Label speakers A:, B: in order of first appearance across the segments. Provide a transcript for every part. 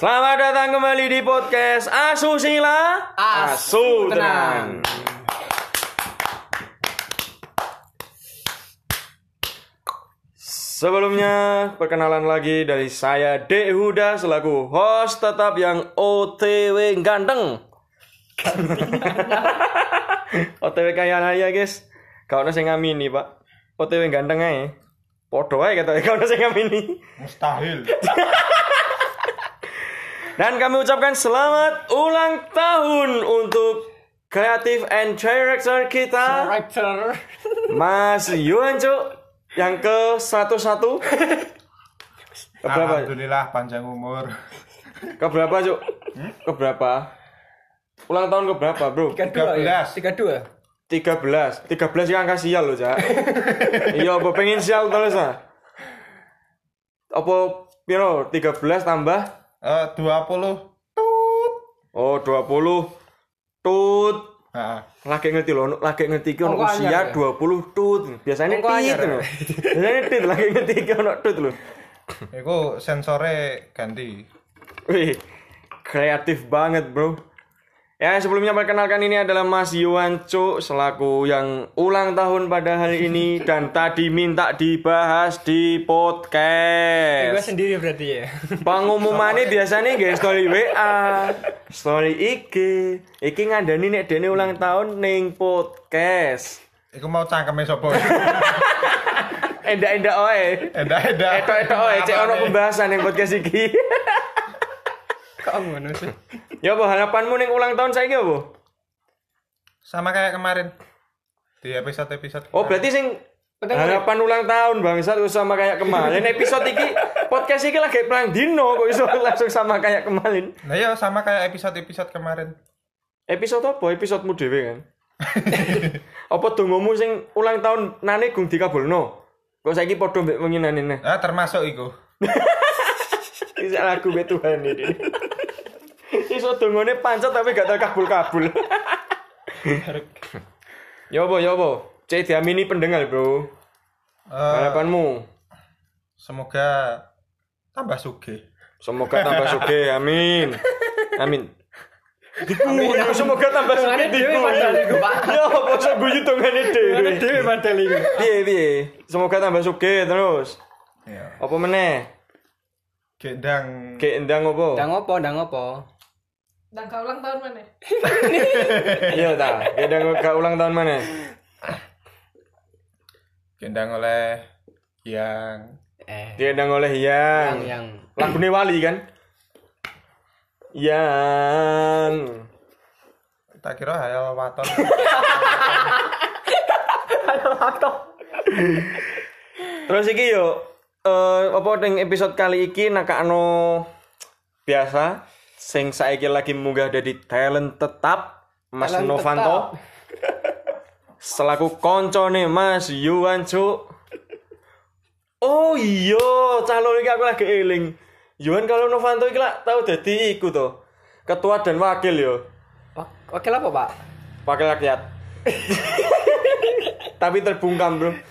A: Selamat datang kembali di podcast Asusila
B: Asu
A: Tenang. Sebelumnya perkenalan lagi dari saya De Huda selaku host tetap yang OTW ganteng. OTW kaya raya guys. Kau nasi ngamini pak. OTW ganteng aja. Podo aja kata kau nasi ngamini.
B: Mustahil.
A: Dan kami ucapkan selamat ulang tahun untuk kreatif and director kita
B: Writer.
A: Mas Yuan Cuk yang ke 101. Keberapa?
B: Alhamdulillah panjang umur.
A: Keberapa Cuk? Keberapa? Ulang tahun keberapa bro?
B: 13.
C: ya? tiga dua
A: 13 13 yang angka sial loh Cak Iya apa pengen sial terus ah Apa Piro 13 tambah
B: Eh 20.
A: Oh 20 Tut
B: Heeh.
A: lagi ngerti loh, lagi ngerti ki ono
C: Engko
A: usia
C: anyar ya?
A: 20 tut. Biasanya
C: Engko
A: tit
C: anyar ya?
A: loh. Biasanya tit lagi ngerti ki ono tut loh.
B: Iku sensore ganti.
A: Wih, kreatif banget bro. Ya sebelumnya perkenalkan ini adalah Mas Yuan Cu selaku yang ulang tahun pada hari ini dan tadi minta dibahas di
C: gue
A: podcast.
C: sendiri berarti ya
A: Pengumumannya biasanya guys story WA, story IG. Iki ngandani nek dene ulang tahun ning podcast.
B: Iku mau cangkeme sapa?
A: Endak-endak oe.
B: Eda-eda.
A: Eto-eto oe oh, eh, cek ono pembahasan yang podcast iki.
C: kok ngono sih
A: ya apa harapanmu ning ulang tahun saiki apa?
B: Sama kayak kemarin. Di episode-episode.
A: Oh berarti sing
C: Penting
A: harapan ulang tahun bangsat wis sama kayak kemarin episode iki podcast iki lagi perang dino kok iso langsung sama kayak kemarin.
B: Nah ya sama kayak episode-episode kemarin.
A: Episode apa? Episodemu dhewe kan. apa dongomu sing ulang tahun nane gung dikabulno? Kok saiki padha mbek wengi nane nah.
B: Ah termasuk iku.
A: Iki sak lagu mbek Tuhan iki. Iso dongone pancet tapi gak tau kabul-kabul. ya apa ya apa? Cek diamini pendengar, Bro.
B: Eh
A: Harapanmu
B: semoga tambah sugih.
A: semoga tambah sugih, amin. Amin. Dikuyu semoga tambah sugih
C: Dhewe padahal
A: dikuyu.
C: iku, Pak.
A: Ya apa sing guyu dongane dhewe.
C: dewe padahal ini
A: Piye piye? Semoga tambah sugih terus.
B: Ya.
A: Apa meneh?
B: Gendang
A: Kayak endang
C: ndang
A: apa?
C: opo ndang opo
D: Dan kau ulang tahun mana?
A: Iya ta, kayak endang gak ulang tahun mana?
B: gendang oleh yang
C: eh
A: Kayak endang oleh Hyang.
C: yang yang
A: Lagune Wali kan? Yang
B: tak kira hayal waton.
A: Terus iki yo eh apa ning episode kali iki nakakno biasa sing saiki lagi munggah dari talent tetap Mas
C: Talent
A: Novanto. Selaku koncone Mas Yuan Cu. Oh iya, calon iki aku lagi eling. Yuan kalau Novanto iki lak tau dadi iku to. Ketua dan wakil yo.
C: Wak- wakil apa pak
A: Wakil rakyat. Tapi terbungkam, Bro.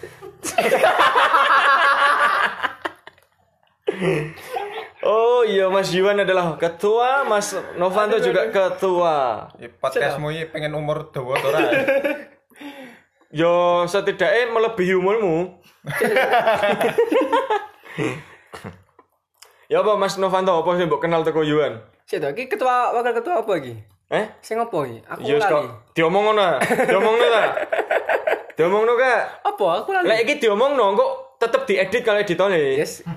A: oh iya Mas Yuan adalah ketua, Mas Novanto juga ketua.
B: Ya, podcastmu ini pengen umur dawa to ora?
A: Yo setidaknya melebihi umurmu. ya apa Mas Novanto apa sih mbok kenal teko Yuan?
C: sih to iki ketua wakil ketua apa iki
A: Eh?
C: sing opo iki aku
A: Yo
C: lali
A: kok diomongno ta? Diomongno ta? Diomongno ka?
C: apa aku
A: Lek
C: lali
A: iki diomongno kok tetep diedit kalau editornya.
C: yes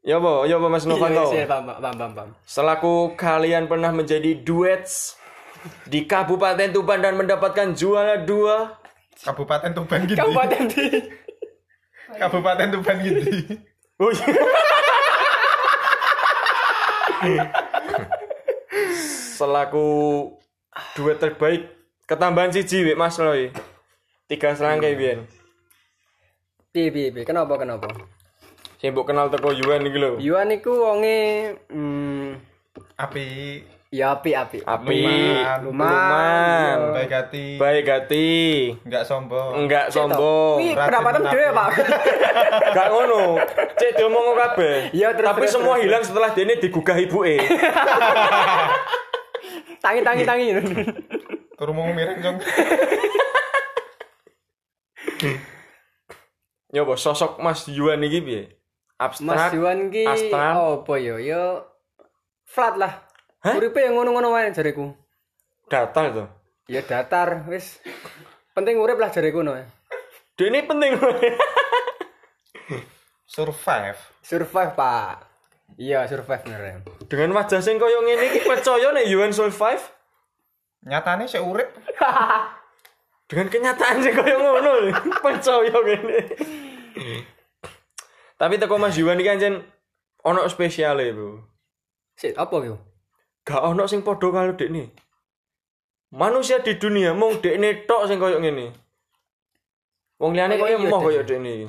A: Ya apa, ya apa Mas Novanto.
C: Yes, yes, Iya, paham paham paham paham
A: Selaku kalian pernah menjadi duets di Kabupaten Tuban dan mendapatkan juara dua.
B: Kabupaten Tuban gitu.
C: kabupaten di
B: Kabupaten Tuban gitu.
A: Oh iya. Selaku duet terbaik ketambahan siji wek Mas Roy. Tiga serangkai biyen.
C: piye piye piye kenapa kenapa
A: Sing mbok kenal teko Yuan iki lho.
C: Yuan iku wonge hmm,
B: Api
C: Ya api api.
A: Api,
B: Luman.
A: luman,
B: Baik hati,
A: Oh. baik Mm. hati,
B: nggak sombong.
A: enggak
C: Wih,
A: sombong,
C: pendapatan
B: Rajin
C: gede ya, Pak.
A: enggak ngono. Cek diomong kabeh.
C: Iya, terus,
A: Tapi
C: terus,
A: semua
C: terus.
A: hilang setelah dene digugah ibuke.
C: Tangi tangi tangi.
B: Turu mau miring jong.
A: Nyoba sosok Mas Yuan iki piye?
C: Mas
A: Abstrak.
C: Yuan oh. ki
A: astral.
C: opo yo yo flat lah. Uripe yang ngono-ngono wae jariku.
A: datar to.
C: Ya datar wis. Penting urip lah jariku no.
A: Dene penting.
B: Survive.
C: Survive, Pak. Iya, survive bener.
A: Dengan wajah sing koyo ngene iki percaya nek Yuan survive
B: Nyatane sik urip.
A: dengan kenyataan sing koyo ngono lho. percaya ngene. Tapi teko Mas Yuan iki anjen ono spesiale, Bro.
C: Sik, apa yo?
A: Gak ono sing padha karo dekne. Manusia di dunia mung dekne tok sing koyo ngene. Wong liyane koyo
C: Koyo iya,
A: emoh
C: Dek.
A: koyo dekne iki.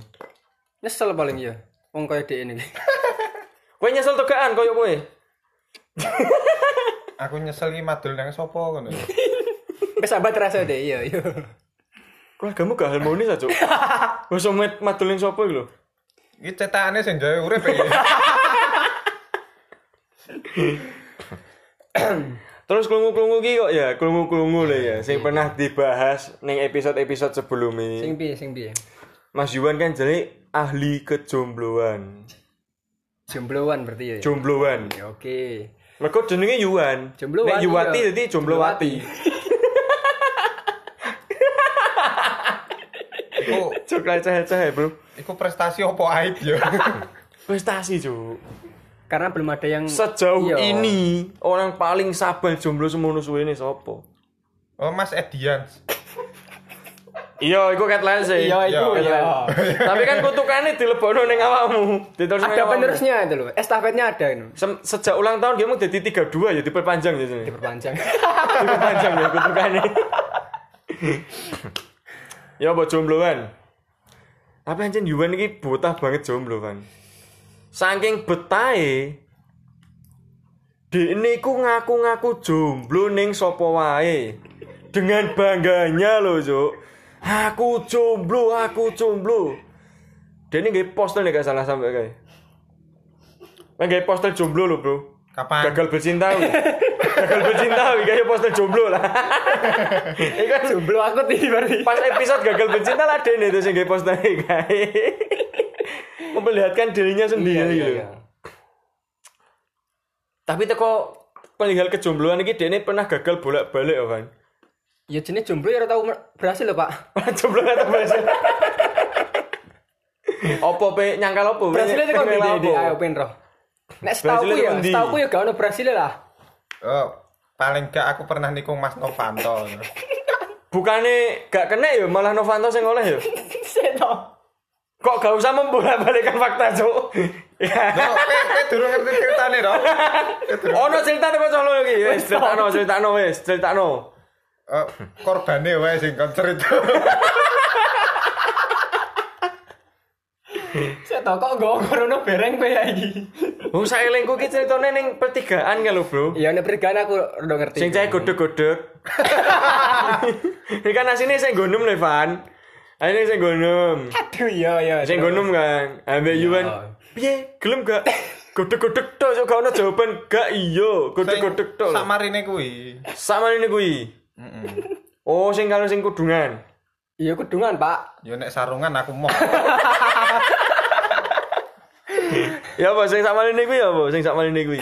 C: Nyesel paling ya. Wong kaya dhek ini.
A: Kowe nyesel tegaan koyo kowe.
B: Aku nyesel iki madul nang sapa ngono.
C: Wis abad rasa dhek iya yo.
A: Keluargamu gak harmonis aja. Wes met madeling sapa iki lho?
B: Iki cetakane sing jae urip iki.
A: Terus kelungu-kelungu ki kok ya, kelungu-kelungu lah ya, sing pernah dibahas ning episode-episode sebelumnya.
C: Iya. Sing piye sing piye?
A: Mas Yuan kan jadi ahli kejombloan.
C: Iya. Jombloan berarti ya.
A: Jombloan.
C: Ya, Oke.
A: Mereka jenenge Yuan.
C: Jombloan,
A: Nek Yuwati
C: iya.
A: jadi jomblowati.
B: Iku
A: Cuk leceh-leceh bro.
B: iku prestasi opo aib yo.
A: Prestasi cuk.
C: Karena belum ada yang
A: Sejauh
C: Iya.
A: ini orang paling sabar jomblo semono suwene sapa?
B: Oh Mas Edian.
A: Iya, iku headline sih.
C: Iya,
B: iku,
A: Headline.
C: iya.
A: Tapi kan kutukannya dilebokno ning awakmu. Diterusno ning
C: ada
A: awakmu.
C: penerusnya itu loh. Estafetnya ada ini.
A: Sem- sejak ulang tahun dia mau jadi 32 ya diperpanjang ya sini.
C: Diperpanjang.
A: diperpanjang ya kutukannya ya buat jomblo kan tapi anjir Yuan ini betah banget jomblo kan saking betahe Dene ku ngaku-ngaku jomblo ning sapa wae. Dengan bangganya lho, Cuk. Aku jomblo, aku jomblo. Dene nggih postel nek gak salah sampe kae. Nggih postel jomblo lho, Bro.
B: Kapan?
A: Gagal bercinta. wih. Gagal bercinta wih, kayak postel jomblo lah. Iku kan
C: Jomblo aku tadi berarti.
A: pas episode gagal bercinta lah Dene itu sing nggih postel iki kae. Memperlihatkan dirinya
C: Iya,
A: sendiri gitu. Tapi teko perihal kejombloan iki dene pernah gagal bolak-balik ya kan.
C: Ya jenis jomblo ya ora tau mer- berhasil loh, Pak.
A: Jomblo kan berhasil. Opo pe nyangkal opo?
C: Berhasilnya itu kok
A: Nyangkal
C: ndek
A: opo?
C: ayo penro. Nek setauku
A: Berhasilnya
C: ya,
A: tekan ndi?
C: setauku ya gak ono berhasil lah.
B: Oh, paling gak aku pernah nikung Mas Novanto. ngono.
A: Bukannya gak kena ya malah Novanto sing oleh ya.
C: Seto.
A: Kok gak usah membolak-balikkan fakta, Cuk. Ya.
B: Loh, Kowe kowe durung ngerti ceritane to.
A: Ono cerita kok colo iki. Wis critakno, critakno wis, critakno.
B: Eh, korbane wae sing kon cerita.
C: Seto kok gak ono bereng kowe ya iki.
A: Wong saelingku ki ceritane ning pertigaan kan lho, Bro.
C: Ya nek perigaan aku udah ngerti.
A: Sing cahaya godhog-godhog. Ini kan asine sing gonem lho, Van. Ini sing gonem.
C: Aduh ya ya.
A: Sing gonem kan. Ambek Yuan. Piye? Gelem gak? Godhog-godhog tok, Cuk. Gak ono jawaban. Gak iya, godhog-godhog tok.
B: Sak marine kuwi.
A: Sama ini kuwi. Oh, sing kalau sing kudungan.
C: Iya kudungan, Pak.
B: Yo nek sarungan aku mau.
A: Ya apa sing sama ini kuwi ya apa sing sama ini kuwi.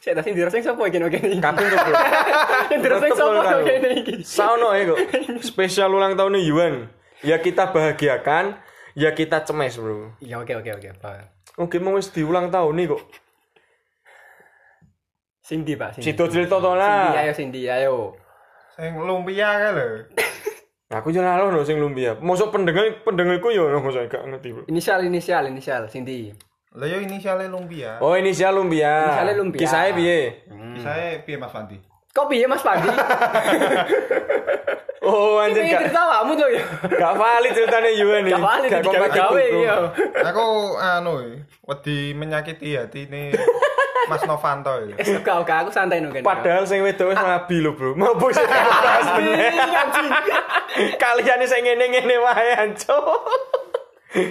C: Seto sing dirasing sapa iki oke iki.
A: Kabeh tuh, Bro.
C: Sing dirasing
A: tetep
C: sapa
A: lho, kan,
C: oke
A: lho.
C: iki.
A: Saono ya kok. Spesial ulang tahunnya Yuan. Ya kita bahagiakan, ya kita cemes, Bro.
C: Ya oke oke oke, Pak.
A: Oke, mau wis diulang tahun nih kok.
C: Sindi, Pak. Sindi.
A: Situ cerita to
C: Sindi,
A: lah.
C: ayo Sindi, ayo.
B: Sing lumpia kae lho.
A: Aku yo lalo no sing lumbia. Mosok pendengar pendengarku yo ngono saya gak ngerti, Bro.
C: Inisial inisial inisial Sindi.
B: Lah yo inisiale lumpia.
A: Oh, inisial lumbia.
C: Inisialnya Lumbia.
A: Kisahnya piye?
B: Saya piye Mas Fandi?
C: Kok piye Mas Pandi?
A: Oh, anjir
C: Pengen
A: gak
C: cerita awakmu tuh ya.
A: gak valid ceritane Yuan nih.
C: Gak valid
A: Gak kompak
C: digawe-gawe
A: gitu.
C: iki yo.
B: Aku anu wedi menyakiti hati ini Mas Novanto ya.
C: Eh, suka oke, aku santai nunggu.
A: Padahal sing wedok
C: Ah.
A: wis rabi lho, Bro. Mau bos bahas meneh. Kalian sing ngene-ngene wae anco.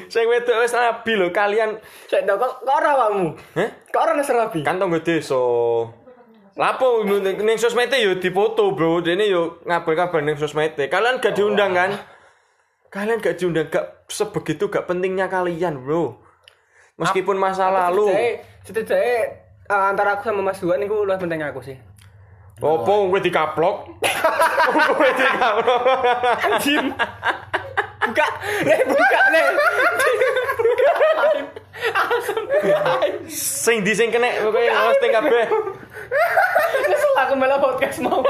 A: Sing wedok wis rabi lho, kalian
C: Cek dong, kok kok ora awakmu?
A: Heh?
C: Kok ora ngeserabi?
A: kan tonggo desa. Lapo ning ning sosmete yo dipoto, Bro. Dene yo ngabar-kabar ning sosmete. Kalian gak diundang kan? Kalian gak diundang gak sebegitu gak pentingnya kalian, Bro. Meskipun masa lalu.
C: Setidaknya- setidaknya eh, antara aku sama Mas Duan itu lebih penting aku sih.
A: Opo kowe dikaplok? Kowe dikaplok.
C: Anjing. Buka, nih buka nih.
A: Sing di sing kena kowe ngosting kabeh.
C: Nyesel aku malah podcast mau.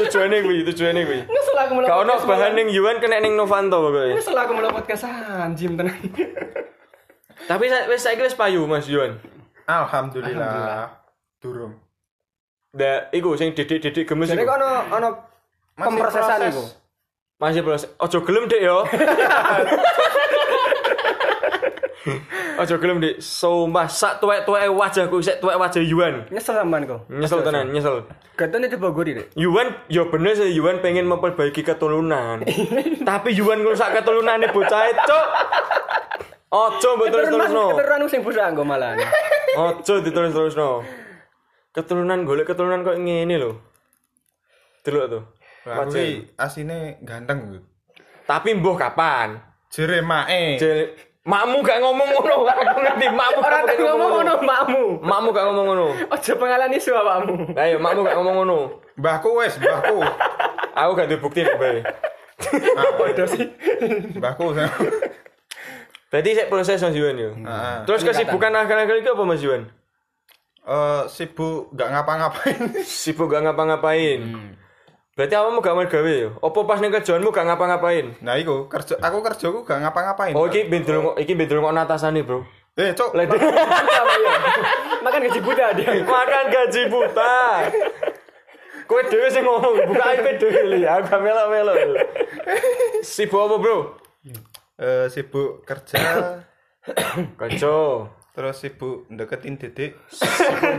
A: tujuane kuwi tujuane kuwi
C: Nyesel aku malah.
A: gak ono
C: podcast
A: bahan
C: mau.
A: ning Yuan kena ning Novanto pokoke
C: Nyesel aku malah podcast anjing tenang.
A: tapi sa- wis saiki wis payu Mas Yuan
B: Alhamdulillah. Durung.
A: da iku sing didik-didik gemes
C: Jadi kok
A: iku
C: ono ono
B: Masih
C: pemrosesan
B: proses.
C: itu.
A: masih proses ojo gelem Dik yo ojo gelem Dik sumpah sak tuwek-tuweke wajahku sik tuwek wajah Yuan
C: Nyesel sampean kok.
A: nyesel tenan nyesel
C: Gatone dibogor iki.
A: Yuan ya bener sih Yuan pengen memperbaiki keturunan tapi Yuan ngrusak keturunannya bocah cok ojo mbok terus-terus no
C: Keturunan sing budak engko malah.
A: Ojo ditulis terus no. Keturunan golek keturunan kok ngene lho. Delok tuh.
B: Lah,
A: Wajah.
B: Kuwi asine ganteng kuwi.
A: Tapi mbuh kapan?
B: Jere mae.
A: Jel makmu gak ngomong ngono, aku ngerti makmu
C: Ora tak ngomong ngono makmu.
A: Makmu gak ngomong ngono.
C: Ojo pengalani isu awakmu.
A: Ayo, makmu gak ngomong ngono.
B: Mbahku wis, mbahku.
A: Aku gak duwe bukti nih, Bay.
C: Bodoh sih.
B: Mbahku.
A: Berarti saya proses Mas Yuan yo.
B: Heeh.
A: Terus kesibukan akhir-akhir itu apa Mas Yuan?
B: Eh sibuk gak ngapa-ngapain.
A: Sibuk gak ngapa-ngapain. Berarti awakmu gak mergawe yo. Apa pas ning kerjaanmu gak ngapa-ngapain?
B: Nah iku kerja aku kerjaku gak ngapa-ngapain.
A: Oh, iki ben delok iki ben delok atasane, Bro.
B: Eh, cok.
A: Lah, Dik.
C: Makan gaji budak dia.
A: makan gaji buta kowe dhewe sing ngomong buka IP dhewe li aku gak melo-melo sibuk apa bro
B: Eh sibuk kerja
A: kerja
B: terus sibuk deketin Dedik.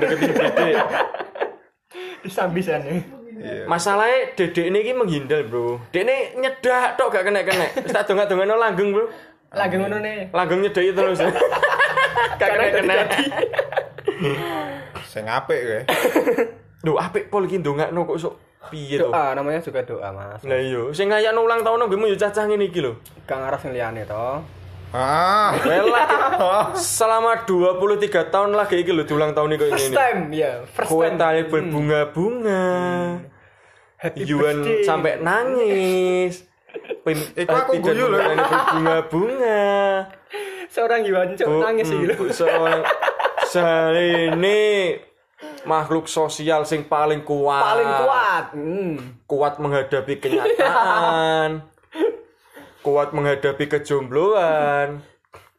A: deketin dedek
C: Disambisan ya.
B: Iya.
A: masalahnya dedek ini ki menghindar bro dedek ini nyedak tok gak kena-kena Wis tak donga-dongano langgeng bro
C: Lagi ngono nih.
A: langgeng nyedai terus gak kena-kena
B: Sing apik kowe.
A: lho apik pol iki ndongakno kok sok piye to
C: Doa Ah, namanya juga doa, Mas.
A: lah iya sing ngayakno ulang tahun nggemu yo cacah ngene iki lho
C: Kang Araf yang liyane to.
B: Ah.
A: Lelah. Selama 23 tahun lagi iki lho ulang tahun iki
C: First
A: ini.
C: time ya, first
A: Kue
C: time.
A: tali berbunga-bunga.
C: Hmm. Happy
A: Yuan
C: birthday.
A: sampai nangis. Pin,
B: Iku aku
A: eh, tidak
B: guyu lho.
A: mengenali berbunga-bunga.
C: Seorang Yuan cok
A: Bu- hmm,
C: nangis gitu. iki lho.
A: bu- Seorang Salene makhluk sosial sing paling kuat.
C: Paling kuat. Hmm.
A: Kuat menghadapi kenyataan. kuat menghadapi kejombloan.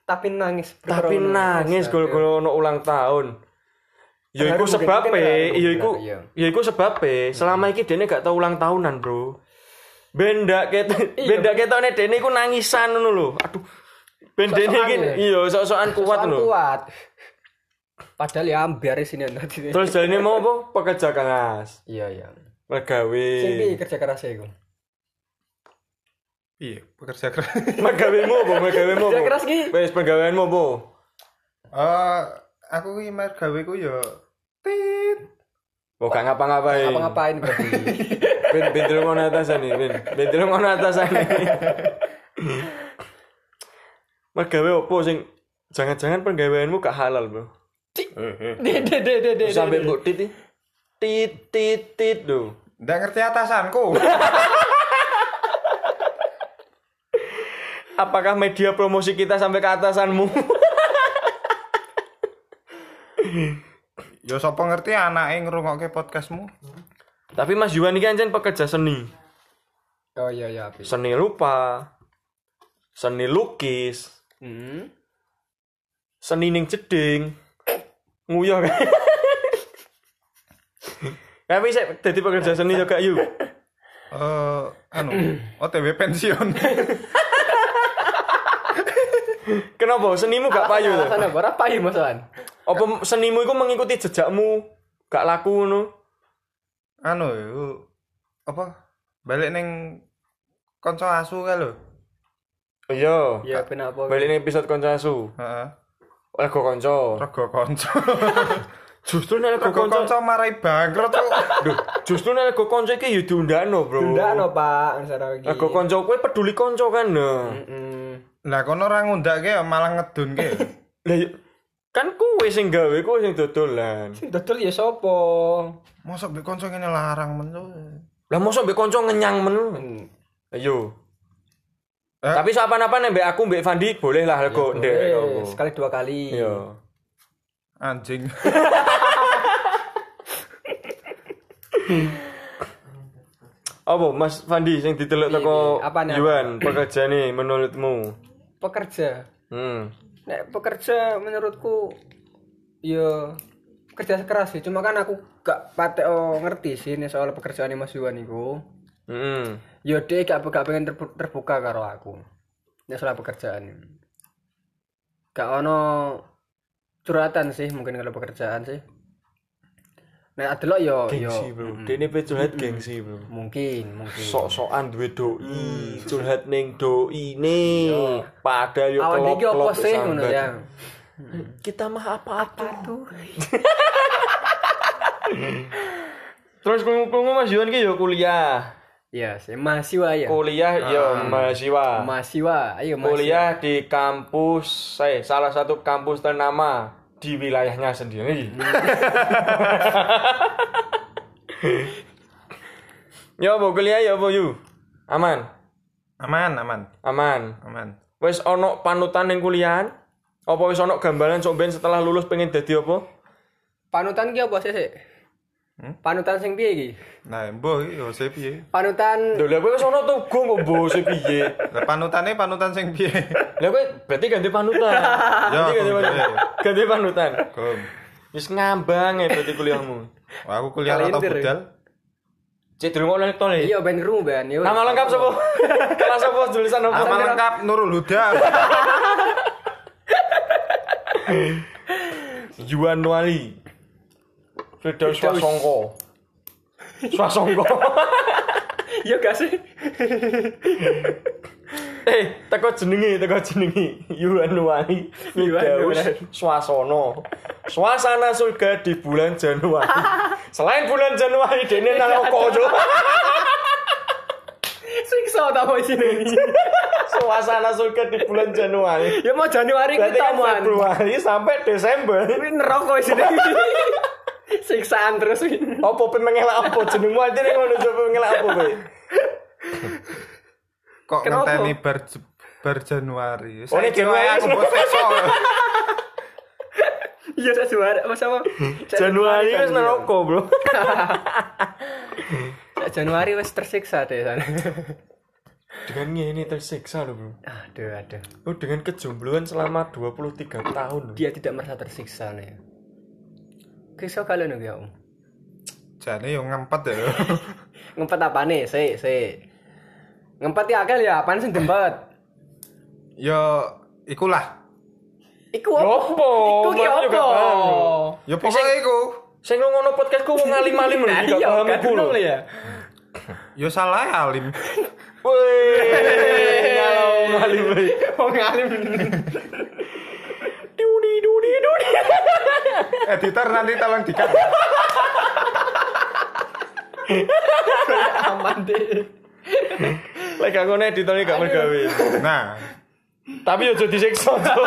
C: Tapi nangis.
A: tapi
C: berkorona.
A: nangis gol-gol ono ulang tahun. Ya
C: Terharu
A: iku
C: mungkin,
A: sebabe,
C: mungkin terharu,
A: ya iku
C: iya.
A: ya iku sebabe selama iki dene gak tau ulang tahunan, Bro. Benda ketok benda ketokne dene iku nangisan ngono lho. Aduh. Ben dene iki
C: Sok-sokan ya?
A: iya sok-sokan kuat
C: Soal
A: lho.
C: kuat. Padahal ya biarin sini nanti.
A: Terus Eh. jalane mau apa? Pekerja keras,
C: Iya iya.
A: megawe.
C: Sing kerja keras e iku.
B: Iya, pekerja keras.
A: Megawemu apa? Megawemu apa?
C: Kerja keras ki.
A: Wis pegaweanmu apa?
B: Eh, aku ki mer gaweku ya tit.
A: Oh, gak ngapa-ngapain.
C: Apa ngapain berarti?
A: Ben ben delok ngono atasan iki, ben. Ben delok ngono atasan iki. Mergawe opo sing jangan-jangan penggaweanmu gak halal, Bro.
C: De de de de de.
A: Sampai mbok tit iki. tit tit tit lho.
B: Ndak ngerti atasanku.
A: Apakah media promosi kita sampai ke atasanmu?
B: ya sapa ngerti anake ngrungokke podcastmu?
A: Tapi Mas Yuan iki anjen pekerja seni.
C: Oh iya iya. Abi.
A: Seni rupa. Seni lukis,
C: Hmm.
A: seni ning jeding. Nguyuh kan. Tapi saya jadi pekerja seni juga yuk.
B: Eh, anu, OTW pensiun.
A: Kenapa senimu gak payu?
C: Alasan
A: tuh?
C: apa? Ora payu Mas Wan.
A: Apa senimu iku mengikuti jejakmu? Gak laku ngono.
B: anu iku apa balik neng konco asu kae lho
A: Oh, Iya.
C: Ya ben apa?
A: Balik nih episode konco asu.
B: heeh
A: Lego konco.
B: rego konco
A: Justru nek lego
B: rego
A: konco.
B: konco marai bangkrut tuh
A: Duh, justru nek lego konco iki yo diundakno, Bro.
C: Ndakno, Pak, secara iki.
A: Lego konco kowe peduli konco kan. Nah.
C: Hmm. Heeh.
B: lah kono ora ngundake ya malah ngedun ke
A: Lah yo- kan kowe sing gawe, kowe sing dodolan.
C: Sing dodol ya sapa?
B: mosok mbek konco ngene larang men tuh
A: Lah mosok mbek konco ngenyang men. Ayo.
B: Eh?
A: Tapi sopan-sopan mbek aku mbek Fandi boleh lah lego ndek.
C: Eh,
A: apa.
C: sekali dua kali.
A: Iya.
B: anjing
A: Apa Mas Fandi sing ditelok teko
C: Iya, apa nih, apa?
A: Yuan pekerjaane menurutmu?
C: Pekerja.
A: Hmm.
C: Nek pekerja menurutku ya kerja keras sih. Cuma kan aku gak patek oh, ngerti sih nih soal pekerjaan Mas Yuan iku.
A: Hmm.
C: Ya dia gak, gak pengen terbu- terbuka karo aku. Nek soal pekerjaan. Gak ono curhatan sih mungkin kalau pekerjaan sih. Nek adelok yo yo
A: Gengsi, Bro. Dene pe curhat gengsi, Bro. Mm.
C: mungkin mungkin.
A: Sok-sokan duwe doi, curhat ning doine. Padahal yo
C: Awal iki opo
A: kelop-kelop
C: sih ngono
A: sambat.
C: ya.
A: Kita mah apa-apa tuh. Terus krungu-krungu Mas Yuan ki yo kuliah.
C: Ya, sih mahasiswa ya.
A: Kuliah yo mahasiswa.
C: Mahasiswa, ayo mahasiswa.
A: kuliah di kampus eh salah satu kampus ternama di wilayahnya sendiri. ya bu kuliah ya bu yu aman
B: aman aman
A: aman
B: aman
A: wes ono panutan yang kuliahan apa wes ono gambaran sok ben setelah lulus pengen jadi apa
C: Panutan ki apa sih sih?
A: Hmm?
C: Panutan sing piye iki?
B: nah mbuh iki yo sip piye
C: Panutan
A: Duh, lah kowe wis ono tugu kok bose piye
B: lah panutane panutan sing piye
A: lah kowe berarti ganti panutan berarti ganti panutan ganti panutan
B: Kom.
A: wis ngambang ya berarti kuliahmu
B: Wah, aku kuliah atau
C: Kalender.
B: budal
A: cek durung ono tol ya
C: iya ben kerungu ben yo.
A: Nama lengkap sapa? Nama sapa tulisan apa?
B: nama lengkap Nurul Huda
A: Yuan Wali. Firdaus Swasongko. Swasongko.
C: Iya gak sih?
A: eh, teko jenenge, teko jenenge. Yuan Wali.
C: Yuan
A: Firdaus
C: Wali.
A: Swasono. Suasana surga di bulan Januari. Selain bulan Januari, dene nang kojo.
C: Siksa ta mau sini.
A: Suasana surga di bulan Januari.
C: Ya mau Januari
A: Berarti
C: kita
A: kan
C: man.
A: Februari sampai Desember.
C: Kuwi neraka wis sini. Siksaan terus win.
A: Apa pengelak apa jenengmu artine ngono coba pengelak apa kowe?
B: kok
C: Kenapa?
B: ngenteni bar bar Januari.
A: Oh, ini Januari.
B: aku mbok sesok.
C: Iya sak Januari apa sapa?
A: Hmm.
C: Sak
A: Januari wis
C: kan,
A: neraka, Bro.
C: iya. Sak Januari wis tersiksa deh sana.
A: Dengan ini tersiksa loh, Bro.
C: Aduh aduh.
A: Lu dengan kejombloan selama 23 tahun. loh.
C: Dia tidak merasa tersiksa nih. Kisah kalian ya Om.
B: Jane yo ngempet ya.
C: Ngempet apa nih? Se, se. Ngempet ya akal ya, apaan sih ngempet?
B: Yo ikulah.
C: Iku
A: Ya apa?
C: Iku ki
A: Mas juga
C: apa?
A: paham.
B: Yo pokoke iku.
A: Sing ngono podcastku wong alim-alim lho,
C: Nah,
A: gak
C: iya,
A: paham
C: gak
A: iku lho.
C: kenal ya.
B: Yo salah ya, alim.
A: Wih, nyalong alim. weh.
C: Wong alim.
A: Dudi dudi dudi.
B: Editor nanti tolong dikat.
C: Aman deh.
A: Lek gak ngono editone gak mergawe.
B: Nah,
A: Tapi ojo disiksa. Jo.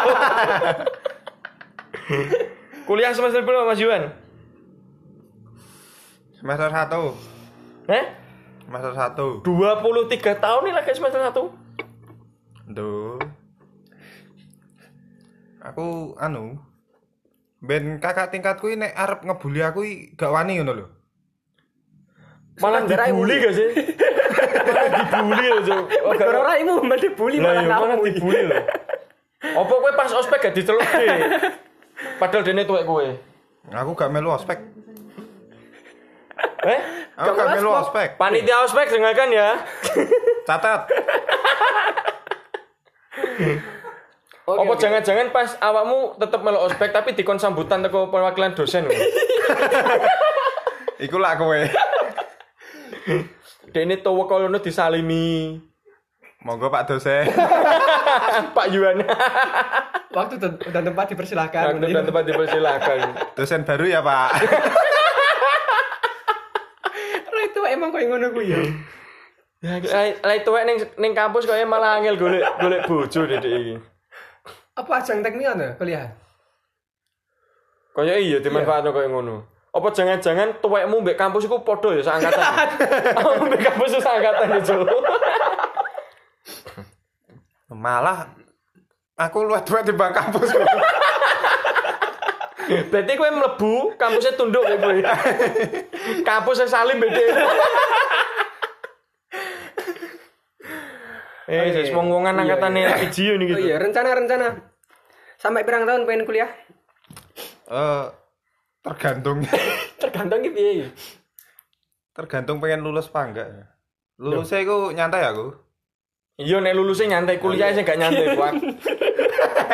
A: Kuliah semester berapa Mas Yuan?
B: semester 1.
A: Eh?
B: Semester 1.
A: 23 tahun nih lagi semester 1.
B: Duh. Aku anu ben kakak tingkatku ini nek arep ngebully aku iki gak wani ngono lho.
A: Malah
C: Sekarang gerai
A: dibully
C: mulu.
A: gak sih? Malah dibully loh, Jo. Oh, gak-
C: Gara ora imu mbak dibully
A: Lah
C: malah
A: iya malah
C: kamu.
A: dibully lho. Apa kowe pas ospek gak diceluke? Padahal dene tuwek kowe.
B: Aku gak melu ospek.
A: Eh?
B: Aku
C: Gak
B: gak melu
C: melu ospek.
B: ospek.
A: Panitia ospek dengarkan ya.
B: Catat.
C: Oke,
A: Apa
C: oke.
A: jangan-jangan pas awakmu tetep melok ospek tapi dikon sambutan teko perwakilan dosen lho.
B: Iku lah kowe.
A: Dene tuwa kalono disalimi. Ah,
B: Monggo Pak dosen.
A: Pak Yuan.
C: Waktu dan, dan tempat dipersilahkan.
A: Waktu dan tempat dipersilakan.
B: Dosen baru ya, Pak.
C: Roy itu emang kau yang ngono ku ya.
A: Ya, Lah itu ning ning kampus kaya malah angel golek golek bojo dedek iki.
C: Apa ajang teknik ana kuliah?
A: Kaya iya dimanfaatno kaya ngono. Apa jangan-jangan tuwekmu mbek kampus iku padha ya seangkatan. Awakmu mbek kampus iku seangkatan ya, Jo.
B: Malah aku luwih duwe di bang kampus.
A: Berarti kowe mlebu kampusnya tunduk ya kowe. kampusnya salim beda. eh,
C: Oke.
A: wis wong-wongan
C: Iya,
A: angkatane
C: iya.
A: siji yo
C: Oh
A: niki.
C: iya, rencana-rencana. Sampai berang tahun pengen kuliah?
B: Eh tergantung
C: Tergantung ki piye.
B: tergantung pengen lulus apa enggak. Lulusnya iku nyantai aku.
A: Iya nek lulusnya nyantai kuliah sih gak nyantai kuat.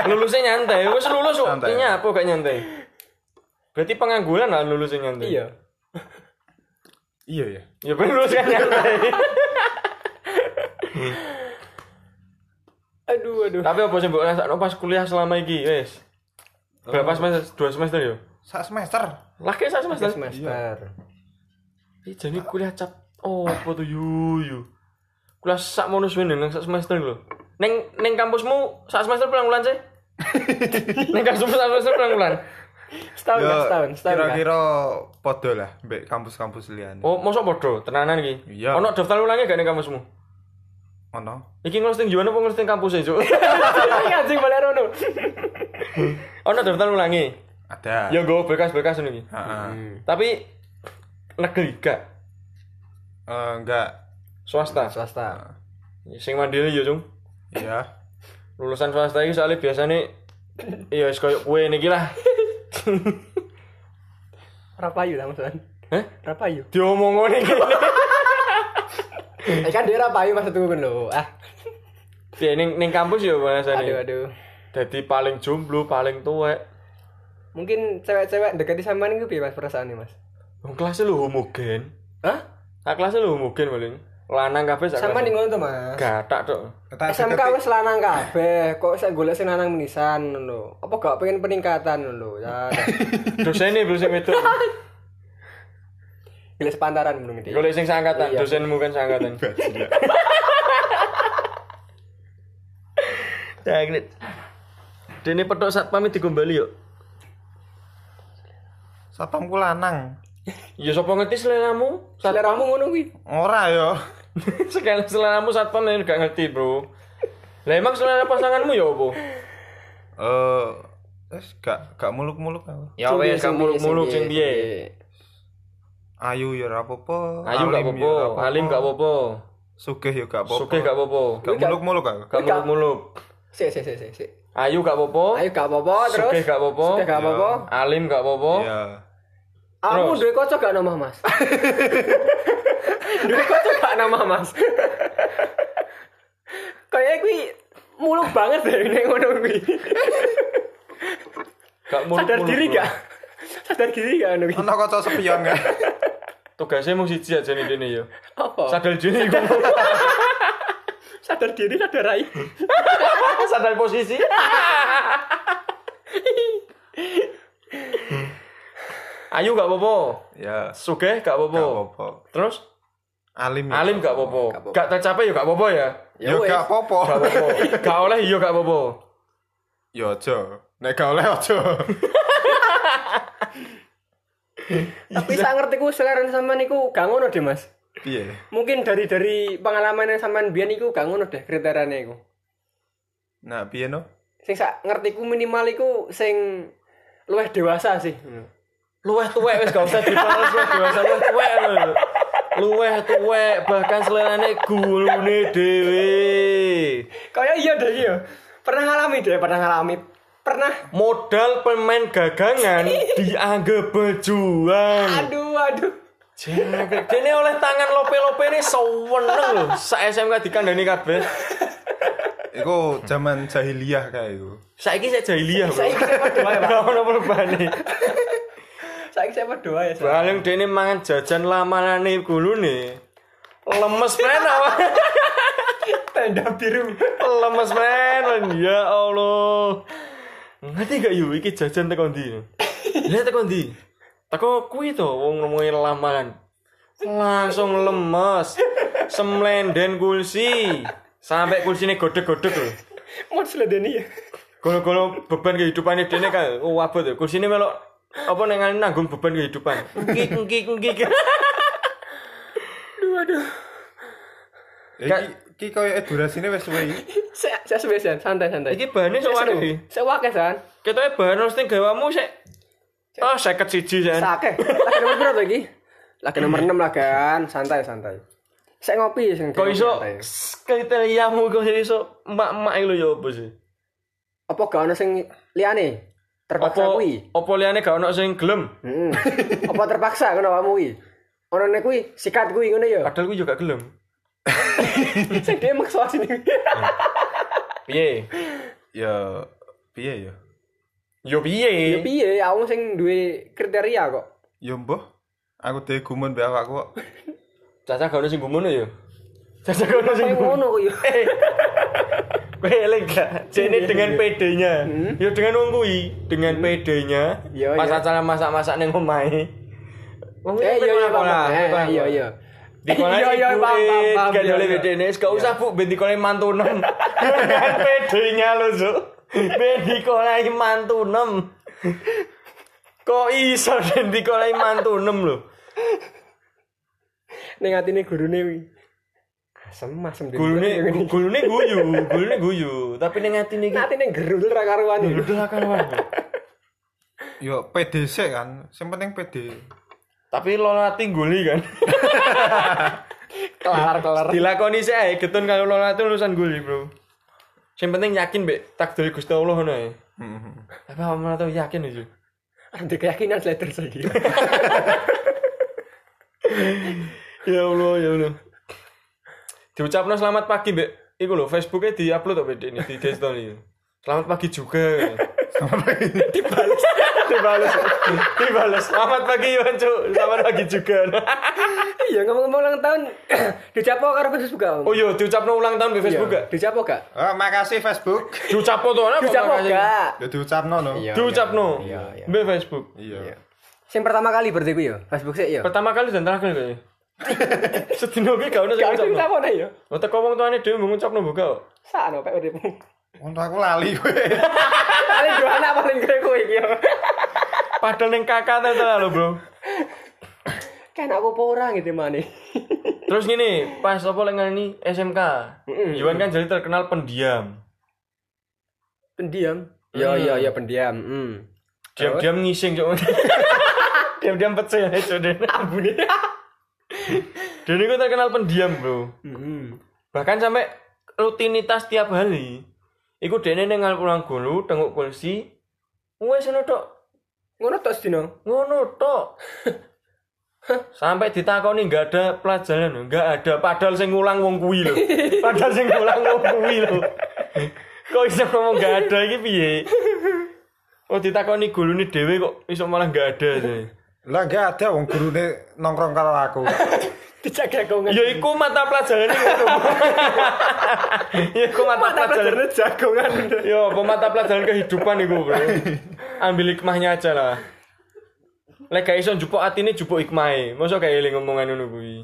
A: lulusnya nyantai, wis lulus kok.
B: Santai.
A: Ini apa gak nyantai? Berarti pengangguran lah lulusnya nyantai.
C: Iya.
B: Iya ya.
A: Ya ben lulus kan nyantai.
C: Aduh, aduh.
A: Tapi apa sih mbok rasakno pas kuliah selama iki, wis. Berapa semester? Dua semester yo.
B: Sak semester.
A: Laki sak semester.
C: Semester.
A: Ih, jadi kuliah cap oh apa tuh yu yu. Kuliah sak mono suwe neng sak semester lho. Neng neng kampusmu sak semester pirang bulan sih? neng kampusmu sak semester pirang bulan?
C: Setahun
B: Ya,
C: lah, setahun, setahun. lah.
B: Kira-kira podo lah mbek kampus-kampus liyan.
A: Oh, mosok padha tenanan iki.
B: Iya.
A: Ono daftar ulangnya gak neng kampusmu?
B: Ono.
A: Iki ngelos teng juwana apa ngelos teng kampus e, Cuk?
C: Ini Iya, anjing balik rono.
A: Ono daftar ulangi.
B: Ada.
A: Ya nggo berkas-berkas ngono iki.
B: Heeh.
C: Hmm,
A: Tapi negeri gak
B: Eh, enggak.
A: swasta.
C: Swasta.
A: Sing mandiri yo, Cung.
B: Iya.
A: lulusan swasta iki soalnya biasanya iya wis koyo kowe niki lah.
C: Rapayu lah maksudnya.
A: Hah?
C: Rapayu.
A: Diomong ngene iki.
C: Eh kan dia rapayu pas itu kan lo. Ah. iya.
A: Ya, ning ning kampus ya
C: Aduh,
A: bahasane.
C: aduh.
A: Dadi paling jomblo, paling tuwek.
C: Mungkin cewek-cewek dekati sama nih piye mas perasaan nih mas.
A: Wong kelasnya lu homogen.
C: Hah?
A: Sak kelasnya lu homogen paling. Lanang kabeh sak.
C: Sama nih
A: kelas.
C: ngono tuh mas.
A: Gatak tok.
B: Tak
C: SMK
B: deketi-
C: Eh, wis lanang kabeh, kok saya golek sing lanang menisan ngono lho. Apa gak pengen peningkatan ngono lho. Ya.
A: Dosene bro sing wedok.
C: Golek sepantaran ngono iki.
A: Golek sing seangkatan,
C: Iya.
A: dosenmu kan seangkatan.
B: Bajingan.
A: Caglit. Dene petok satpam iki dikombali yo.
B: Satpamku lanang.
A: Ya sapa ngerti seleramu? Sat-
C: Seleramu ngono kuwi.
B: Ora yo.
A: Sekali seleramu satpam ini gak ngerti, Bro. Lah emang selera pasanganmu ya opo?
B: Eh, wis gak gak muluk-muluk aku.
A: Ya wes kamu muluk-muluk sing piye?
B: Ayu yo ora apa-apa.
A: Ayu gak
B: Alim
A: apa-apa,
B: yo ora
A: Alim ya, gak apa-apa,
B: Sugih yo gak apa-apa.
A: Sugih gak apa-apa.
B: Gak muluk-muluk aku.
A: Gak muluk-muluk.
C: Sik sik sik sik. sik.
A: Ayu gak apa-apa,
C: Ayo gak apa-apa terus.
A: Sugih gak apa-apa. Ya.
C: Sugih gak apa-apa.
A: Alim gak apa-apa.
B: Iya.
C: Aku duwe kocok gak nama Mas. duwe kocok gak nama Mas. Kayak kuwi muluk banget deh nek ngono kuwi.
A: Gak muluk-muluk.
C: Sadar diri
A: bro.
C: gak? Sadar diri gak ngono kuwi?
B: Ono kocok sepion gak?
A: Tugasnya mau siji aja nih dene ya.
C: Apa?
A: Sadar diri iku.
C: Sadar diri sadar rai.
A: Sadar posisi. Ayu gak apa-apa.
B: Ya.
A: Sugih gak
B: Gak
A: apa-apa.
B: apa-apa.
A: Terus
B: Alim. yo.
A: Oh. Alim gak apa-apa. Gak tercapai ya gak apa-apa ya.
B: Yo gak apa-apa.
A: Gak apa-apa. Gak oleh iya gak apa-apa.
B: Yo aja. Nek gak oleh aja.
C: Tapi saya ngerti ku selera sama niku gak ngono deh Mas.
B: Piye?
C: Mungkin dari dari pengalaman yang sampean biyen iku gak ngono deh kriteriane iku.
B: Nah, piye no?
C: Sing sak ngerti ku minimal iku sing luwih dewasa sih.
A: luweh tuwek wis gak usah dibales wis dewasa luweh tuwek lho. luweh tuwek bahkan selerane gulune dhewe
C: Kayak iya deh iya. Pernah ngalami deh, pernah ngalami. Pernah.
A: modal pemain gagangan dianggap berjuang
C: Aduh, aduh.
A: Jengkel. dene oleh tangan lope-lope ini seweneng lho sak SMK dikandani kabeh
B: Iku zaman jahiliyah kayak iku.
A: Saiki saya jahiliyah, Bro.
C: Saiki saya berdoa ya, Pak.
A: Ora ono perubahane.
C: Saiki saya berdoa ya. Pak.
A: Paling dene mangan jajan lamanane gulune. Lemes men apa?
C: Tenda biru.
A: Lemes men. Ya Allah. Ngerti gak yuk iki jajan teko ndi? Ya teko ndi? Teko kuwi to wong ngomongi lamaran. Langsung lemes. Semlenden kulsi. Sampai kulsine godhek-godhek lho.
C: Mau seledeni ya.
A: Kalau-kalau beban kehidupannya dia nih kayak oh, wabot ya. Kursi ini melok apa nenganin nanggung beban kehidupan. Ngik ngik ngik.
B: Ya, Iki iki koyo durasine wis suwe iki.
C: Saya saya sebesen santai santai.
A: Iki bahannya soal ini.
C: Saya wakil san.
A: Kita ya bahan harusnya gawamu sih. Oh, saya siji kan.
C: Sake. Lagi nomor berapa lagi? Lagi nomor 6 lah kan. Santai santai. Saya ngopi sing.
A: Kau iso
C: santai.
A: kriteriamu kau sih iso emak emak lo ya apa sih?
C: Apa gak ono sing liyane? Terpaksa
A: Apa
C: kuwi.
A: apa liane gak ono sing gelem.
C: Heeh. Apa terpaksa ngono awakmu kuwi? Ono nek kuwi sikat kuwi ngono ya.
A: Padahal gue juga gelem.
C: Sing dia maksa sini.
A: Piye?
B: Ya piye ya?
A: Yo
C: Ya
A: piye?
C: piye aku sing duwe kriteria kok.
B: Ya mbah, aku dhewe gumun mbek awakku kok.
A: Caca gak ono sing gumono ya. Caca gak ono sing
C: Kayak
A: gumono.
C: ngono kok ya.
A: Kowe eling gak? Jene dengan PD-nya. Ya dengan wong kuwi, dengan PD-nya.
C: Iya,
A: Pas
C: Hmm? iya.
A: acara masak-masak ning omahe. Wong
C: Eh iya iya
A: kolah,
C: paham, paham.
A: kolah.
C: Eh, iya iya.
A: Di kolah
C: Iya, iya,
A: duit,
C: paham, paham, paham.
A: gak
C: Iya,
A: oleh
C: iya.
A: PD-ne, gak usah Bu, ben dikolah mantunem. Dengan PD-nya lho, Zuk. Ben dikolah mantunem. Kok iso ben dikolah mantunem lho?
C: Ning atine gurune kuwi. Asem asem dhewe.
A: Gulune gulune guyu, gulune guyu, tapi ning atine iki
C: atine gerul ra karuan iki.
A: udah kawan.
B: Ya PDC kan, sing penting PD.
A: Tapi lolati guli kan.
C: Kelar kelar.
A: dilakoni sih ae getun kalau lola itu lulusan guli bro yang penting yakin be takdir gusti allah ngono ya apa kamu tuh yakin itu
C: Ada Ah, keyakinan letter saja.
A: ya allah ya allah diucapkan selamat pagi be Iku loh, Facebooknya di upload apa ini di desktop ini. Selamat pagi juga. dibales, dibales, dibales. Selamat pagi Yohan Cuk. selamat pagi juga.
C: Iya ngomong-ngomong ulang tahun dicapo karo Facebook gak? Om?
A: oh iya, diucapkan ulang tahun di
C: Iya.
A: Facebook gak?
C: Dicapo gak?
B: Oh, makasih Facebook.
A: Diucapkan tuh apa?
C: Dicapo
A: makasih?
C: gak?
B: Ya diucapno lho.
C: Iya.
A: Diucapno.
C: Iya, iya.
A: Be Facebook.
B: Iya.
C: Sing pertama kali berarti kuwi ya, Facebook sik ya.
A: Pertama kali dan terakhir kayaknya. Sedino kuwi gak ono sing
C: Gak
A: ngucapno.
C: sing dicapo ya.
A: Wah, teko wong tuane dhewe mung ngucapno mbok gak.
C: Sakno pek uripmu.
B: Untuk aku lali kowe.
C: Paling dua anak paling kere kowe iki. ya.
A: Padahal ning kakak ta lho, Bro.
C: Kan aku apa orang gitu mana?
A: Terus gini, pas apa lek ngani SMK. Iwan kan jadi terkenal pendiam.
C: pendiam. Ya ya ya pendiam. Hmm.
A: Diam-diam ngising cok. Diam-diam pecel ya cok dene. Ambune. Dene ku terkenal pendiam, Bro.
C: Hmm.
A: Bahkan sampai rutinitas tiap hari. Iku dene ning ngalih pulang gulu, tengok kursi. Wes ngono tok.
C: Ngono tos dino.
A: ngono tok sampai ditakoni nggak ada pelajaran nggak ada padahal sing ngulang wong kuwi lho padahal sing ngulang wong kuwi lho kok iso ngomong nggak ada iki piye oh ditakoni gulune dhewe kok iso malah nggak ada sih
B: Lah gak ada wong gurune nongkrong karo aku.
C: Dijaga kau
A: ya iku mata pelajaran iku lho. ya iku mata pelajaran
C: jagongan.
A: yo apa mata pelajaran kehidupan iku bro ambil hikmahnya aja lah lek gak iso jupuk atine jupuk hikmahe mosok gak eling omongan ngono kuwi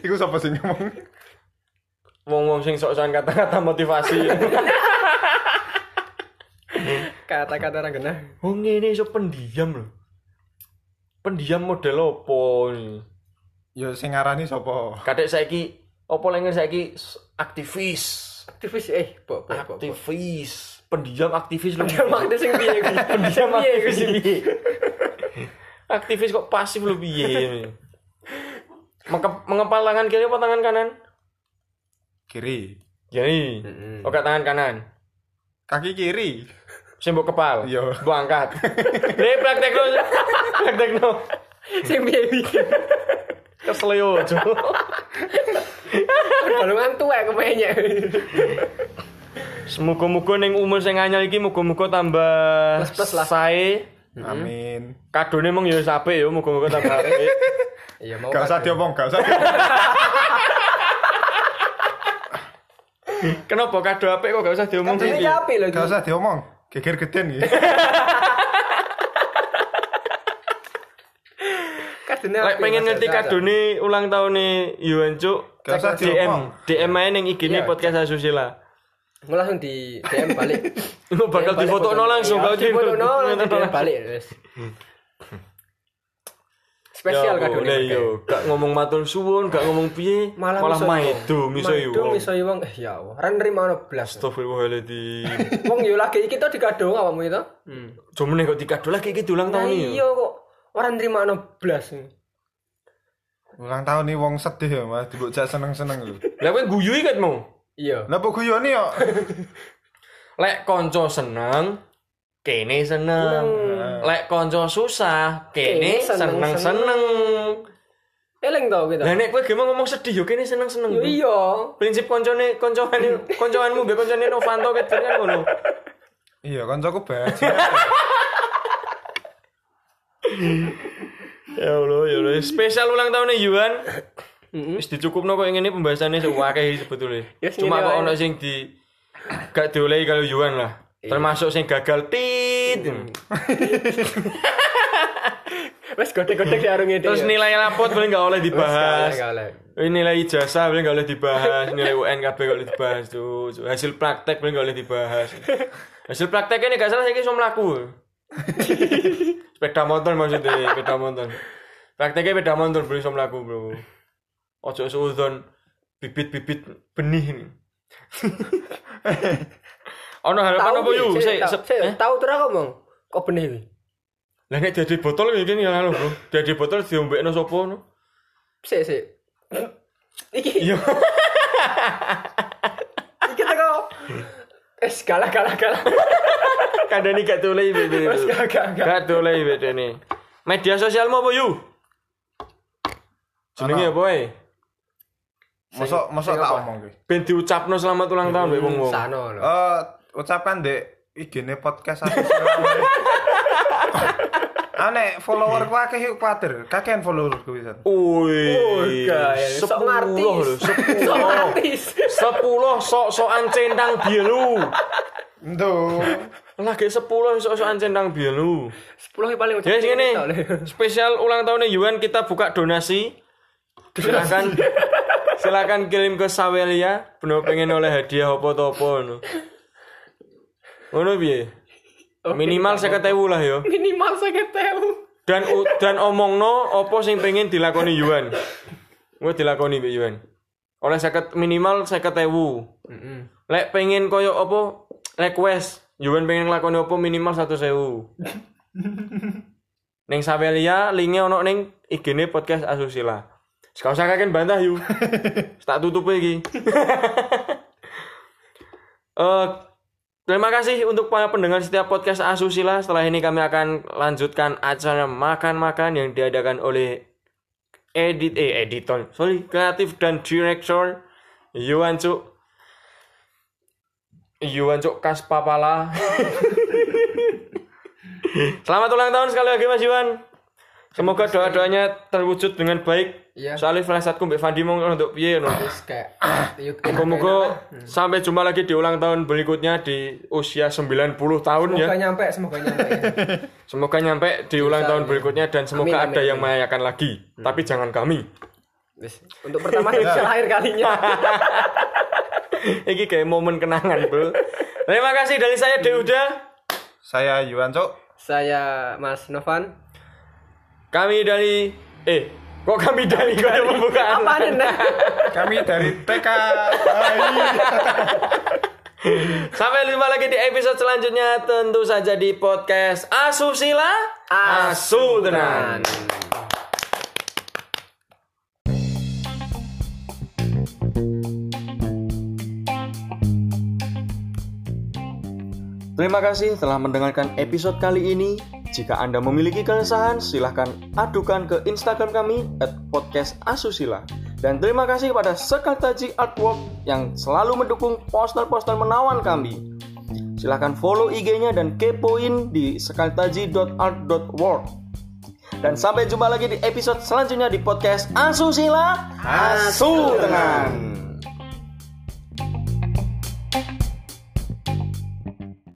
B: Iku sapa sing ngomong?
A: wong-wong sing sok-sokan kata-kata motivasi.
C: Kata-kata orang genah.
A: Wong ngene iso pendiam lho. Pendiam model opo ini?
B: Ya sing ngarani sapa?
A: Kadek saiki opo lek ngene saiki s- aktivis.
C: Aktivis eh bok bok bok. bok.
A: Aktivis, pendiam aktivis lho.
C: Dia maksudnya sing piye kuwi?
A: pendiam
C: Sing piye
A: aktivis
C: kuwi?
A: piye? aktivis kok pasif lho piye ini? Mengke- Mengepal tangan kiri apa tangan kanan?
B: Kiri.
A: Jadi,
C: Mm-mm.
A: oke tangan kanan.
B: Kaki kiri.
A: Sing mbok kepal,
B: Iya.
A: mbok angkat. Lek praktekno, praktekno.
C: Sing piye kuwi?
A: Kesel yo, Cuk.
C: Balungan tuwek kepenyek.
A: Semoga-moga ning umur sing anyar iki moga-moga tambah
C: Plus-plus lah.
A: sae.
B: Amin.
A: Kadone mung ya wis apik ya moga-moga tambah apik.
C: Iya mau.
B: Gak usah
C: kabeh.
B: diomong, gak usah. diomong.
A: Kenapa kado apik kok gak usah diomong
C: Jadi
A: iki?
C: ini apik lho.
B: Gak usah diomong. Geger geden iki.
C: Kadene
A: Lek
C: apik,
A: pengen
C: Mas,
A: ngerti
C: gak usah.
A: kadone ulang tahunnya Yuan Cuk,
B: Gak usah
A: DM
B: diomong.
A: DM ae ning IG-ne
C: Iya.
A: podcast Asusila.
C: Gue langsung di DM balik.
A: Lu Oh, bakal difotokno langsung
C: kalau
A: gak
C: di foto no langsung di DM
A: balik.
C: balik wes. Spesial
A: Ya,
C: kadone.
A: boleh,
C: pakai.
A: yo. Gak ngomong matur suwun, gak ngomong piye, malah,
C: miso
A: maido
C: iwang.
A: miso yo.
C: Maido miso iwang. Eh ya Allah, ran nerima ono blas.
A: Astagfirullahaladzim.
C: Wong yo lagi iki to digado awakmu itu.
A: Cuma nih kok dikado lagi iki ulang
C: Nah
A: tahun
C: Hmm. iya
A: iki.
C: kok ora nerima ono blas.
B: Ulang tahun nih wong sedih ya, Mas. Dibojak seneng-seneng lho.
A: Lah kowe guyu ikat mau.
C: Iya.
B: Lah kok guyoni yo.
A: Lek konco seneng, kene seneng.
B: Eh,
A: Lek konco susah, kene
C: Hmm. Kene seneng-seneng.
A: seneng-seneng.
C: Eling to kita.
A: Lah nek kowe gimana ngomong sedih yo kene seneng-seneng.
C: Yo iya.
A: Prinsip koncone koncoane koncoanmu be koncone Novanto kedengan kan ngono.
B: Iya, kancaku baji.
A: Ya Allah, ya Allah. Spesial ulang tahunnya Yuan.
C: Mm-mm. Ya,
A: Wis dicukupno kok ngene pembahasannya sewakeh sebetulnya.
C: Yes,
A: Cuma
C: ngene
A: kok
C: wae.
A: ono sing di gak diolehi kalau Yuan lah.
C: Iya.
A: Termasuk sing gagal tit.
C: Wes godek-godek di arunge
A: Terus nilai lapor boleh nggak oleh dibahas. Ini Eh, nilai ijazah boleh nggak boleh dibahas, nilai UN KB nggak boleh dibahas tuh. Hasil praktek boleh nggak boleh dibahas. Hasil praktek ini gak salah saya cuma melaku. sepeda motor maksudnya, sepeda motor. Prakteknya sepeda motor boleh cuma melaku bro. Ojo seuzon bibit-bibit benih ini. Ono harapan apa yuk? Saya, saya,
C: tahu terus ngomong. Kok benih iki?
A: eh? lah nek jadi botol ini nih lo bro. Jadi botol diombekno sopo no.
C: Sik sik. Iki
A: Iya.
C: iki teko. Wes kalah kalah kalah.
A: Kadang ini gak tulai bibit
C: Wes
A: itu.
C: gak gak gak.
A: Gak boleh beda nih. Media sosialmu apa yu? Jenenge apa e?
B: Mosok mosok tak omong kuwi.
A: Ben diucapno selamat ulang tahun mbek wong-wong.
C: Sano lho.
B: Eh, ucapan dek IG-ne podcast aku. Ane follower ku akeh yuk kuatir. Kakean follower ku pisan.
A: Wih.
C: Sok ngartis.
A: Sepuluh lho,
C: Sok
A: sepuluh.
C: ngartis.
A: Sepuluh sok-sokan centang biru.
B: Ndo.
A: Lagi sepuluh sok-sokan centang biru.
C: Sepuluh yang paling
A: Jadi
C: ini.
A: ini spesial ulang tahunnya Yuan kita buka donasi. Silakan silakan kirim ke Sawelia. Bener pengen oleh hadiah apa topo no. Ngono piye? Minimal saya lah yo.
C: Minimal saya tahu.
A: Dan u- dan omongno apa sing pengen dilakoni Yuan. Gue dilakoni mbek Yuan. Oleh saya minimal saya Lek pengen koyo apa request Yuan pengen lakoni apa minimal satu sewu. Neng Savelia linknya ono neng IG-ne podcast Asusila. Sekarang saya kaken bantah yu. tak tutup lagi. Eh terima kasih untuk para pendengar setiap podcast Asusila. Setelah ini kami akan lanjutkan acara makan-makan yang diadakan oleh edit eh editor, sorry, kreatif dan director Yuan Cuk. Yuan Cuk Kaspapala. Selamat ulang tahun sekali lagi Mas Yuan. Semoga doa-doanya terwujud dengan baik.
C: Iya.
A: Soalnya firasatku Mbak Fandi mau untuk piye no.
C: Terus kayak. Hmm. yuk,
A: Moga-moga sampai jumpa lagi di ulang tahun berikutnya di usia 90 tahun ya.
C: Semoga nyampe, semoga nyampe.
A: Semoga nyampe di ulang tahun berikutnya dan semoga ada
C: Amin, amin, Hmm.
A: yang merayakan lagi. Tapi jangan kami.
C: Wis, Untuk pertama dan terakhir kalinya.
A: Iki kayak momen kenangan, Bro. Terima kasih dari saya Deuda.
B: Saya Yuan Cok.
C: Saya Mas Novan.
A: Kami dari eh kok kami dari kok ada pembukaan.
C: Apa nih? Nah?
B: Kami dari TK. Hai.
A: Sampai jumpa lagi di episode selanjutnya tentu saja di podcast Asusila Asu tenan. Terima kasih telah mendengarkan episode kali ini. Jika Anda memiliki keresahan, silahkan adukan ke Instagram kami at podcast Asusila. Dan terima kasih kepada Sekartaji Artwork yang selalu mendukung poster-poster menawan kami. Silahkan follow IG-nya dan kepoin di sekartaji.art.work. Dan sampai jumpa lagi di episode selanjutnya di podcast Asusila Asu Tenan.